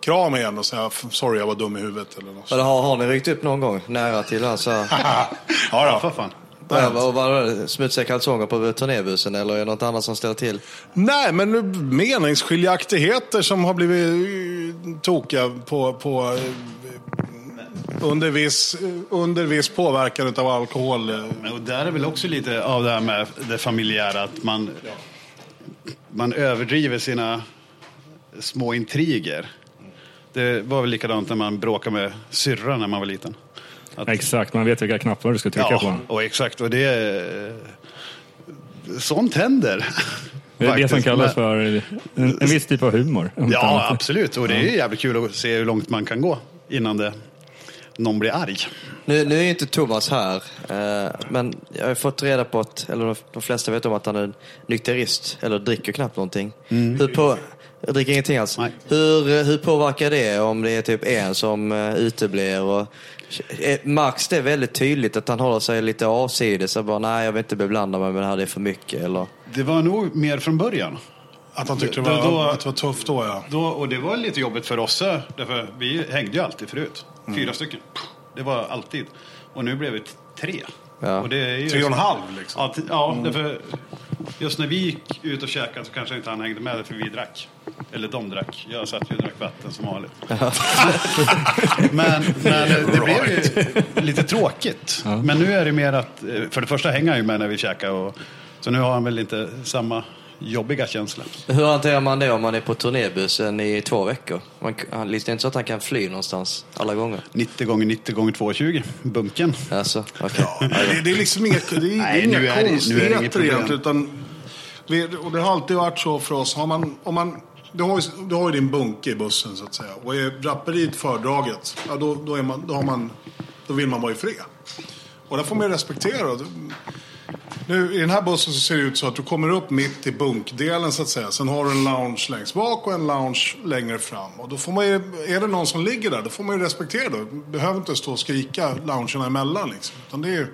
Speaker 3: kram igen och säga "F- sorry jag var dum i huvudet eller något.
Speaker 4: Eller har, har ni ryckt upp någon gång nära till alltså,
Speaker 3: Ja,
Speaker 2: För
Speaker 3: då.
Speaker 2: fan.
Speaker 4: och bara smutsiga kalsonger på turnébussen eller är det något annat som ställer till?
Speaker 3: Nej, men nu- meningsskiljaktigheter som har blivit eh, tokiga på, på, eh, under, viss, eh, under viss påverkan av alkohol. eh.
Speaker 2: Men Och där är väl också lite av det här med det familjära. Att man, man överdriver sina små intriger. Det var väl likadant när man bråkade med syrran när man var liten. Att-
Speaker 5: exakt, man vet vilka knappar du ska trycka på.
Speaker 2: och exakt. Och det... är- Sånt händer.
Speaker 5: Det är det
Speaker 2: Faktiskt.
Speaker 5: som kallas för
Speaker 2: Men-
Speaker 5: en, en viss typ av humor. om inte
Speaker 2: Ja,
Speaker 5: annat.
Speaker 2: absolut. Och det är ju jävligt kul att se hur långt man kan gå innan det, någon blir arg.
Speaker 4: Nu, nu är ju inte Thomas här, eh, men jag har ju fått reda på att, eller de- de flesta vet om att han är nykterist, eller dricker knappt någonting. Hur på, jag dricker ingenting alls.
Speaker 2: Nej.
Speaker 4: Hur, eh, hur påverkar det om det är typ en som eh, uteblir? Och, eh, Max, det är väldigt tydligt att han håller sig lite avsides. Jag bara, nej jag vill inte beblanda mig med det här, det är för mycket. Eller,
Speaker 2: Det var nog mer från början.
Speaker 3: Att han tyckte det
Speaker 2: Då- då-
Speaker 3: var, att det var tufft då, ja.
Speaker 2: Då, och det var lite jobbigt för oss, därför vi hängde ju alltid förut.
Speaker 3: Mm.
Speaker 2: Fyra stycken. Det var alltid. Och nu blev vi t- tre.
Speaker 4: Ja.
Speaker 2: Och det är ju
Speaker 3: Tre och en halv liksom.
Speaker 2: Ja, t- ja därför just när vi gick ut och käkade så kanske inte han hängde med för vi drack. Eller de drack. Jag satt ju och drack vatten som vanligt. men men det blev ju lite tråkigt. Men nu är det mer att, eh, för det första hänger han ju med när vi käkar. Och, så nu har han väl inte samma jobbiga känsla.
Speaker 4: hur hanterar man det om man är på turnébussen i två veckor? Man, han, det är inte så att han kan fly någonstans alla gånger.
Speaker 2: 90 gånger 90 gånger 220, bunken.
Speaker 4: Alltså, okej.
Speaker 3: Ja, det, det är liksom inga, det är,
Speaker 2: Nej,
Speaker 3: inga
Speaker 2: nu är det- nu är det
Speaker 3: konstigheter
Speaker 2: inget problem.
Speaker 3: egentligen. Utan vi, och det har alltid varit så för oss. Har man, om man, du, har ju, du har ju din bunke i bussen så att säga. Och är draperiet fördraget, ja, då, då, är man, då, har man, då vill man vara i fred. Och det får man ju respektera. Och det- Nu, I den här bussen så ser det ut så att du kommer upp mitt i bunkdelen så att säga. Sen har du en lounge längst bak och en lounge längre fram. Och då får man ju, är det någon som ligger där, då får man ju respektera det. Du behöver inte stå och skrika loungerna emellan liksom. Utan det är ju,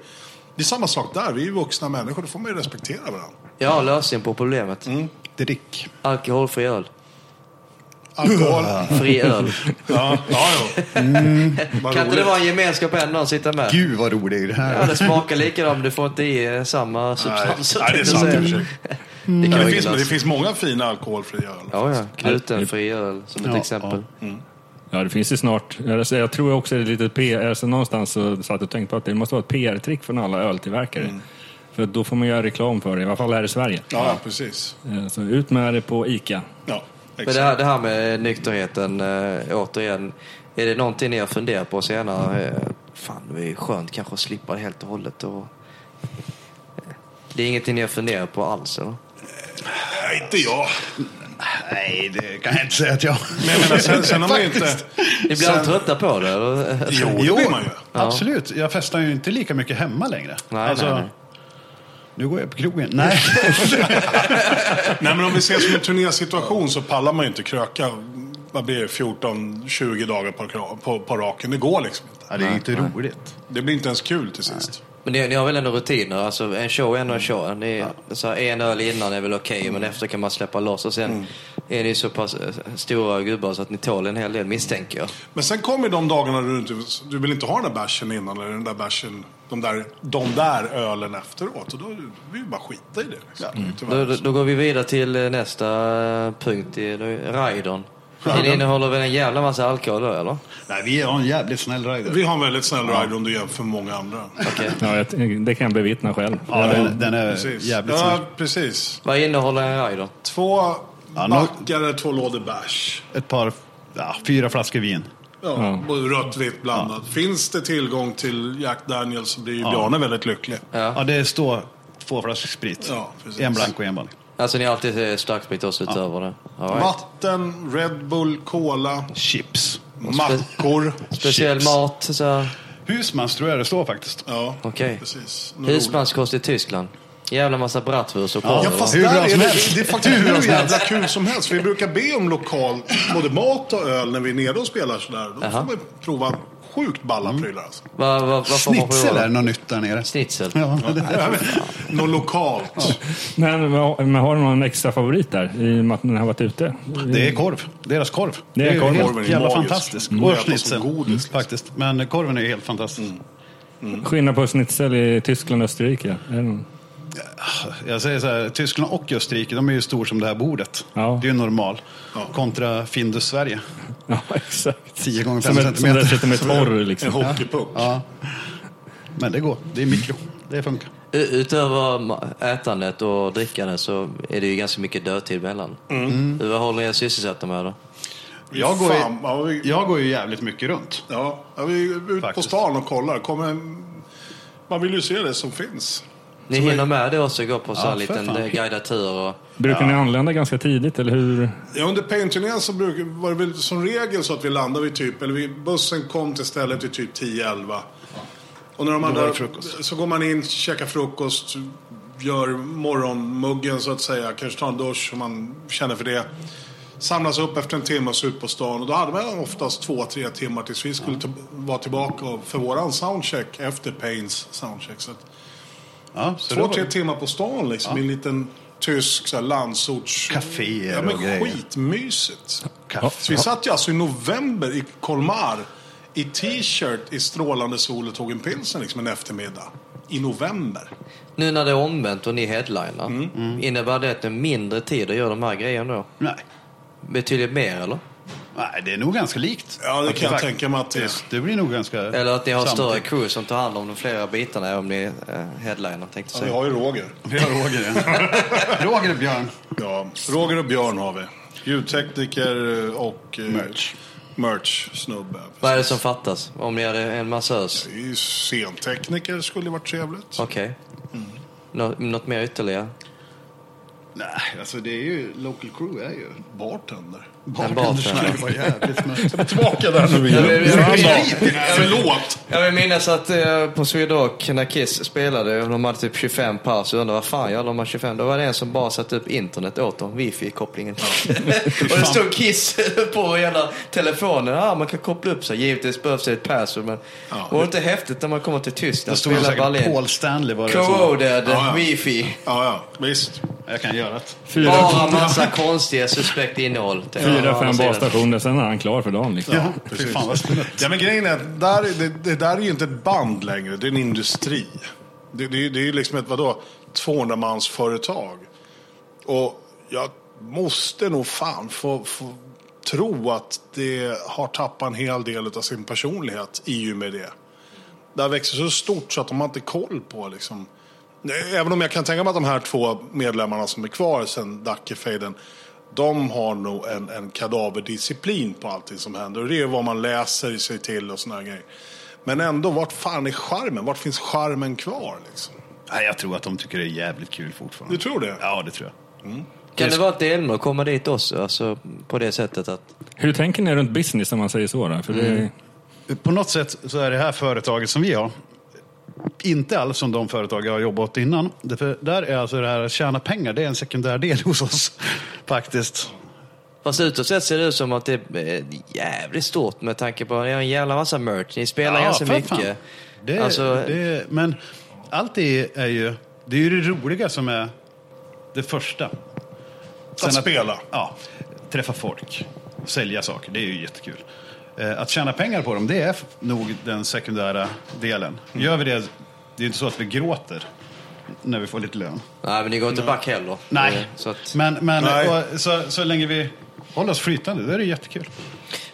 Speaker 3: det är samma sak där. Vi är ju vuxna människor, då får man ju respektera varandra.
Speaker 4: Jag har lösningen på problemet.
Speaker 2: Drick.
Speaker 4: Alkoholfri öl.
Speaker 3: Alkohol.
Speaker 4: Fri öl.
Speaker 3: Ja, ja, jo. Vad
Speaker 4: kan inte det
Speaker 3: roligt.
Speaker 4: vara en gemenskap ändå att sitta med?
Speaker 2: Gud vad rolig det här
Speaker 4: Ja, det smakar likadant, men du får inte i eh, samma substans.
Speaker 3: nej, det är
Speaker 4: så att
Speaker 3: sant i
Speaker 4: säga.
Speaker 3: och för sig.
Speaker 4: Det kan
Speaker 3: Men
Speaker 4: vara
Speaker 3: det, finns,
Speaker 4: ingen
Speaker 3: det
Speaker 4: lösning.
Speaker 3: finns många fina alkoholfria öl.
Speaker 4: Ja, ja. Glutenfri öl som ett
Speaker 2: Ja,
Speaker 4: exempel.
Speaker 5: Ja, det finns ju snart. Alltså, jag tror också det är lite PR. Alltså, någonstans så satt jag och tänkte på att det måste vara ett PR-trick från alla öltillverkare.
Speaker 2: Mm.
Speaker 5: För då får man göra reklam för det, i alla fall här i Sverige.
Speaker 3: Ja, ja, precis.
Speaker 5: Eh, Så ut med det på ICA.
Speaker 3: Ja,
Speaker 4: Men
Speaker 3: exakt.
Speaker 4: det här, det här med nykterheten, eh, återigen. Är det någonting ni har funderat på senare?
Speaker 2: Mm.
Speaker 4: Eh, fan, det är skönt kanske att slippa det helt och hållet. Och... Det är ingenting ni har funderat på alls, eller?
Speaker 3: Nej, inte jag.
Speaker 2: Nej, det kan jag inte säga att jag...
Speaker 3: Men jag menar, sen, sen har man ju inte...
Speaker 2: Faktiskt.
Speaker 4: Ni blir aldrig trötta på det? Eller?
Speaker 3: Jo, det blir man ju.
Speaker 2: Absolut, jag festar ju inte lika mycket hemma längre. Alltså,
Speaker 4: Nej, nej, nej.
Speaker 2: Nu går jag på krogen. Nej,
Speaker 3: Nej, men om vi ser som en turnésituation så pallar man ju inte kröka vad blir det, 14-20 dagar på, kra- på, på raken. Det går liksom inte.
Speaker 2: ja, det är inte roligt.
Speaker 3: Det blir inte ens kul till sist.
Speaker 4: Men ni, ni har väl ändå rutiner? Alltså en show är ändå en show. Ni, så här, en öl innan är väl okej, men efter kan man släppa loss. Och sen är ni så pass eh, stora gubbar så att ni tål en hel del, misstänker jag.
Speaker 3: Men sen kommer ju de dagarna du inte du vill inte ha den där bärsen innan eller den där bärsen, de där, de där ölen efteråt. Och då vill ju bara skita i det. Liksom. Tyvärr.
Speaker 4: Mm. Då, då, då går vi vidare till eh, nästa eh, punkt, i då är Raidon. Den innehåller väl en jävla massa alkohol då, eller?
Speaker 2: Nej, vi har en jävligt snäll rider.
Speaker 3: Vi har en väldigt snäll rider om du jämför med många andra.
Speaker 4: Okej.
Speaker 5: Ja, jag- det kan jag bevittna själv.
Speaker 2: Ja, den, den är
Speaker 3: Precis.
Speaker 2: jävligt
Speaker 3: ja,
Speaker 2: snäll.
Speaker 3: precis.
Speaker 4: Vad innehåller en Raidon?
Speaker 3: Två
Speaker 2: Ja, nå-
Speaker 3: backare, två lådor bärs.
Speaker 2: Ett par, ja, fyra flaskor vin.
Speaker 3: Ja, och Rött, vitt blandat. Finns det tillgång till Jack Daniels så blir ju Bjarne väldigt lycklig.
Speaker 2: Ja, det står två flaskor sprit.
Speaker 3: Ja, precis.
Speaker 2: en blank och en vanlig.
Speaker 4: Alltså ni har alltid eh, starksprit också utöver det? All right.
Speaker 3: Vatten, Red Bull, Cola,
Speaker 2: Chips.
Speaker 3: Mm. mackor.
Speaker 4: Speciell
Speaker 2: chips.
Speaker 4: mat, så här.
Speaker 2: Husmans tror jag det står faktiskt.
Speaker 3: Ja,
Speaker 4: Okej.
Speaker 3: precis.
Speaker 4: Husmanskost i Tyskland. Jävla massa bratwurst och korv.
Speaker 3: Ja,
Speaker 4: va?
Speaker 3: fast
Speaker 2: Hur
Speaker 3: där
Speaker 2: bra
Speaker 3: är
Speaker 2: som
Speaker 3: det,
Speaker 2: helst.
Speaker 3: det är faktiskt hur jävla kul som helst. Vi brukar be om lokal, både mat och öl, när vi är nere och spelar sådär. Då får
Speaker 4: Jaha.
Speaker 3: man prova sjukt balla prylar alltså.
Speaker 4: Va, va, vad får man
Speaker 2: Snitsel
Speaker 4: prova
Speaker 2: är
Speaker 4: då?
Speaker 2: något nytt där nere.
Speaker 4: Snitsel?
Speaker 2: Ja, det
Speaker 3: Jag
Speaker 2: är.
Speaker 3: vet inte. Något lokalt.
Speaker 5: Men, vad- men har du någon extra favorit där i och med att ni har varit ute?
Speaker 2: det är korv. Deras korv.
Speaker 5: Mm. Det är
Speaker 2: ju
Speaker 5: korv.
Speaker 3: Korven är
Speaker 2: Helt jävla
Speaker 3: magisk.
Speaker 2: fantastisk.
Speaker 3: Mm.
Speaker 2: Och
Speaker 3: Äta som
Speaker 2: schnitzel.
Speaker 3: godis,
Speaker 2: Mm,
Speaker 3: liksom. Mm.
Speaker 2: Faktiskt. Men korven är ju helt fantastisk.
Speaker 5: Skillnad på schnitzel i Tyskland och Österrike? Är det någon?
Speaker 2: Jag säger så här, Tyskland och Österrike, de är ju stor som det här bordet.
Speaker 5: Ja.
Speaker 2: Det är ju normal. Kontra Findus Sverige.
Speaker 5: Ja, exakt.
Speaker 2: 10 gånger
Speaker 5: Som
Speaker 2: 5
Speaker 5: är- som
Speaker 2: centimeter.
Speaker 5: dessutom är torr liksom.
Speaker 3: En hockeypuck.
Speaker 2: Men det går. Det är mikro. Det funkar.
Speaker 4: U- Utöver ma- ätandet och drickandet så är det ju ganska mycket dödtid mellan. Hur- Vad håller ni er sysselsatta med då?
Speaker 2: Jag går,
Speaker 3: Fan, ja,
Speaker 2: ju,
Speaker 3: vi-
Speaker 2: jag går ju jävligt mycket runt.
Speaker 3: Ja, ja, vi är ute på
Speaker 2: Faktiskt.
Speaker 3: stan och kollar. Kommer en... Man vill ju se det som finns.
Speaker 4: Ni hinner med det också, gå på så här
Speaker 2: Ja, för
Speaker 4: liten
Speaker 2: fan.
Speaker 4: eh, guidad tur och...
Speaker 5: Brukar ni anlända ganska tidigt eller hur?
Speaker 3: Ja, under painturnén så brukar, var det väl som regel så att vi landade vid typ, eller vi, bussen kom till stället vid typ 10-11. Och när de andra, så går man in, käkar frukost, gör morgonmuggen så att säga, kanske tar en dusch om man känner för det. Samlas upp efter en timme och så ut på stan och då hade man oftast två, tre timmar tills vi skulle t- vara tillbaka och- för våran soundcheck efter Pains soundcheck. Så att
Speaker 2: Ja, så
Speaker 3: Två,
Speaker 2: det
Speaker 3: tre
Speaker 2: var-
Speaker 3: timmar på stan liksom, i en liten tysk så här, landsorts...
Speaker 2: Caféer
Speaker 3: Ja, men
Speaker 2: och grejer.
Speaker 3: skitmysigt.
Speaker 2: Kaffe.
Speaker 3: Så vi satt ju alltså i november i Kolmar i t-shirt i strålande sol och tog en pilsner liksom en eftermiddag. I november.
Speaker 4: Nu när det är omvänt och ni headliner, innebär det att det är mindre tid att göra de här grejerna då?
Speaker 2: Nej.
Speaker 4: Betydligt mer eller?
Speaker 2: Nej, det är nog ganska likt.
Speaker 3: Ja, det
Speaker 2: Att
Speaker 3: kan jag
Speaker 2: fakt-
Speaker 3: tänka mig att det är.
Speaker 2: Det blir nog ganska...
Speaker 4: Eller att ni har större
Speaker 2: samtidigt.
Speaker 4: crew som tar hand om de flera bitarna om ni eh, headliner tänkte
Speaker 3: Ja,
Speaker 4: jag
Speaker 3: vi
Speaker 4: säga.
Speaker 3: har ju Roger.
Speaker 2: Vi har Roger, ja. Roger och Björn.
Speaker 3: Ja, Roger och Björn har vi. Ljudtekniker och... Eh,
Speaker 2: Merch.
Speaker 3: Merch, snubbe.
Speaker 4: Vad är det som fattas? Om ni hade en massös?
Speaker 3: Det är ju Scentekniker skulle ju varit trevligt.
Speaker 4: Okej. Nå- något mer ytterligare?
Speaker 2: Nej, alltså det är ju... Local crew är ju...
Speaker 3: Bartender.
Speaker 4: bartender.
Speaker 2: Det var jävligt mörkt.
Speaker 3: Tillbaka där nu igen.
Speaker 4: men- jag-
Speaker 3: Fan,
Speaker 4: jag-
Speaker 3: då. Förlåt.
Speaker 4: Jag vill minnas att eh, på Sweden Rock när Kiss spelade, och de hade typ 25 pers, och undrade vad fan gör de här 25? Då var det en som bara satte upp internet åt dem, wifi-kopplingen. och det stod Kiss på hela telefonen, ah, man kan koppla upp sig. Givetvis behövs det ett password, men var det inte häftigt när man kommer till Tyskland
Speaker 2: Det
Speaker 4: och
Speaker 2: stod
Speaker 4: spelar
Speaker 2: säkert
Speaker 4: Berlin?
Speaker 2: Paul Stanley var det som...
Speaker 4: Corroded,
Speaker 3: Ja, ja.
Speaker 4: wifi,
Speaker 3: Ja, ja, visst.
Speaker 2: Jag kan göra det.
Speaker 4: bara massa konstiga suspekt innehåll.
Speaker 5: Fyra, fem
Speaker 2: alltså
Speaker 5: basstationer, sen är han klar för dagen. Liksom.
Speaker 2: Ja, fy fan vad snyggt.
Speaker 3: Ja, men grejen är att där, det, det där är ju inte ett band längre, det är en industri. Det, det, är ju- det är ju liksom ett, vadå, 200-mansföretag. Och jag måste nog fan få, få tro att det har tappat en hel del av sin personlighet i och med det. Det här växer så stort så att de har inte koll på liksom. Även om jag kan tänka mig att de här två medlemmarna som är kvar sen Dackefejden. De har nog en, en kadaverdisciplin på allting som händer. Och det är vad man läser sig till och såna här grejer. Men ändå, vart fan är charmen? Vart finns charmen kvar liksom?
Speaker 2: Nej, jag tror att de tycker det är jävligt kul
Speaker 3: Du
Speaker 2: fortfarande.
Speaker 3: tror det?
Speaker 2: Ja, det tror jag.
Speaker 4: Kan det vara ett delmål att komma dit också? Alltså, på det sättet att...
Speaker 5: Hur tänker ni runt business om man säger så? Då? För det,
Speaker 3: Mm.
Speaker 2: På något sätt så är det här företaget som vi har inte alls som de företag jag har jobbat åt innan. Därför där är alltså det här att tjäna pengar, det är en sekundär del hos oss faktiskt.
Speaker 4: Fast utåt sett ser det ut som att det är eh, jävligt stort med tanke på att ni har en jävla massa merch. Ni spelar ganska
Speaker 2: för
Speaker 4: mycket.
Speaker 2: fan. Det,
Speaker 4: Alltså-
Speaker 2: det, men allt det är ju, det är ju det roliga som är det första. Sen
Speaker 3: Att spela.
Speaker 2: Ja, träffa folk, sälja saker, det är ju jättekul. Eh, Att tjäna pengar på dem, det är f- nog den sekundära delen.
Speaker 4: Mm.
Speaker 2: Gör vi det, det är ju inte så att vi gråter när vi får lite lön.
Speaker 4: Nej, men ni går inte back heller. Eh,
Speaker 2: Nej,
Speaker 4: Så att,
Speaker 2: men, men
Speaker 3: Nej.
Speaker 2: Och, så, så länge vi håller oss flytande, då är det jättekul.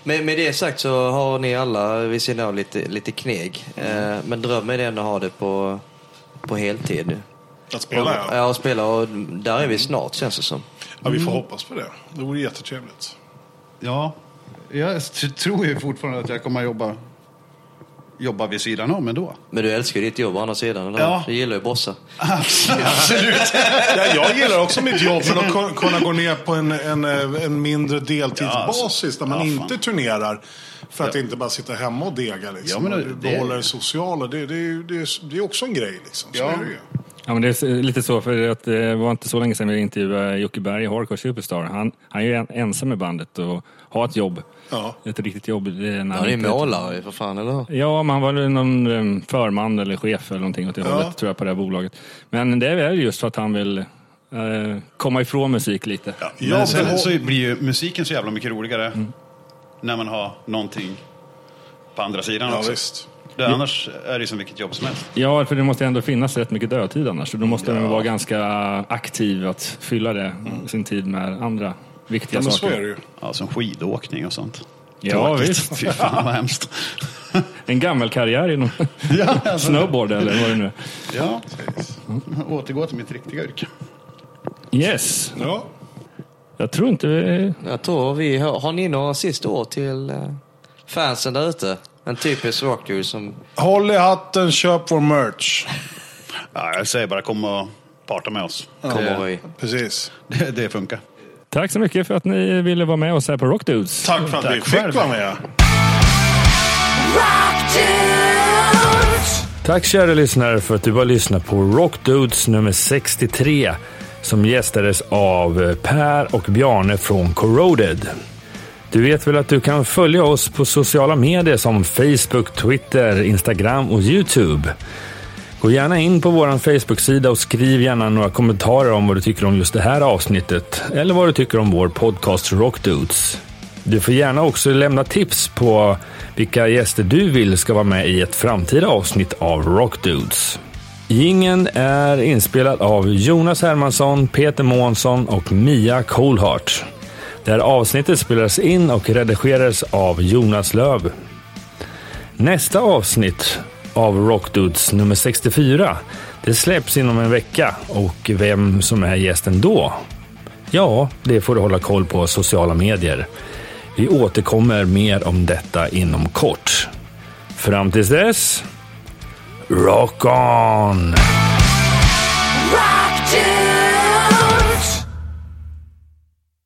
Speaker 4: med, med det sagt så har ni alla vid sidan av lite, lite kneg. Eh, men drömmen är ändå att ha det på, på heltid.
Speaker 3: Att spela, ja.
Speaker 4: Ja, och spela. Och där är vi snart känns det som.
Speaker 3: ja. Vi får hoppas på det. Det vore jättetrevligt.
Speaker 2: Ja, jag t- tror ju fortfarande att jag kommer att jobba, jobba vid sidan om ändå.
Speaker 4: Men du älskar ju ditt jobb å andra sidan, eller
Speaker 2: Ja.
Speaker 4: Du gillar ju bossa.
Speaker 2: Absolut.
Speaker 3: Ja, jag gillar också mitt jobb, men att kun- kunna gå ner på en, en, eh, en mindre deltidsbasis där man
Speaker 2: Ja, fan.
Speaker 3: inte turnerar. För att
Speaker 2: Ja.
Speaker 3: inte bara sitta hemma och dega liksom.
Speaker 2: Ja, men
Speaker 3: och
Speaker 2: det-
Speaker 3: behålla det sociala. Det, det, är ju- det, är- det är också en grej liksom. Så
Speaker 2: Ja.
Speaker 3: är det ju.
Speaker 5: ja, men det är lite så, för att det var inte så länge sedan vi intervjuade Jocke Berg i Hardcore Superstar. Han, han är ju en, ensam i bandet och har ett jobb.
Speaker 3: Ja.
Speaker 5: Ett riktigt jobb. Det är när
Speaker 4: Ja,
Speaker 5: han
Speaker 4: det är
Speaker 5: inte-
Speaker 4: målare ju för fan, eller hur?
Speaker 5: Ja, men han var väl någon eh, förman eller chef eller någonting åt det
Speaker 3: Ja.
Speaker 5: hållet tror jag på det här bolaget. Men det är väl just för att han vill eh, komma ifrån musik lite.
Speaker 3: Jag
Speaker 2: Men sen
Speaker 3: behå-
Speaker 2: så blir ju musiken så jävla mycket roligare
Speaker 5: Mm.
Speaker 2: när man har någonting på andra sidan
Speaker 3: ja,
Speaker 2: också.
Speaker 3: visst.
Speaker 2: Det, annars är det ju som vilket jobb som helst.
Speaker 5: Ja, för det måste ändå finnas rätt mycket dödtid annars. Så då måste man vara ganska aktiv att fylla det, sin tid med andra viktiga
Speaker 3: Mm. Ja, men så
Speaker 5: saker.
Speaker 3: är det ju.
Speaker 2: Ja, som skidåkning och sånt.
Speaker 5: Ja,
Speaker 2: Tråkigt.
Speaker 5: visst.
Speaker 2: Fy fan vad hemskt.
Speaker 5: En gammal karriär inom
Speaker 2: ja, alltså,
Speaker 5: snowboard eller vad det nu är.
Speaker 2: ja.
Speaker 5: Mm.
Speaker 2: Återgå till mitt riktiga yrke.
Speaker 5: Yes,
Speaker 3: Ja.
Speaker 5: jag tror inte vi...
Speaker 4: Jag tror vi har, har ni några sista ord till eh, fansen där ute? En typisk rockdude som...
Speaker 3: Håll i hatten, köp vår merch.
Speaker 2: Ja, jag säger bara kom och parta med oss.
Speaker 4: Kommer i.
Speaker 2: det,
Speaker 3: Precis.
Speaker 2: det, det funkar.
Speaker 5: Tack så mycket för att ni ville vara med oss här på Rockdudes.
Speaker 3: Tack för att vi fick vara med.
Speaker 6: Rock dudes.
Speaker 1: Tack kära lyssnare för att du har lyssnat på Rockdudes nummer 63 som gästades av eh, Per och Bjarne från Corroded. Du vet väl att du kan följa oss på sociala medier som Facebook, Twitter, Instagram och Youtube. Gå gärna in på vår Facebook-sida och skriv gärna några kommentarer om vad du tycker om just det här avsnittet eller vad du tycker om vår podcast Rockdudes. Du får gärna också lämna tips på vilka gäster du vill ska vara med i ett framtida avsnitt av Rockdudes. Gingen är inspelad av Jonas Hermansson, Peter Månsson och Mia Coolheart. Det här avsnittet spelades in och redigerades av Jonas Löv. Nästa avsnitt av Rockdudes nummer 64, det släpps inom en vecka och vem som är gästen då? Ja, det får du hålla koll på sociala medier. Vi återkommer mer om detta inom kort. Fram tills dess, rock on!
Speaker 6: Rock dudes.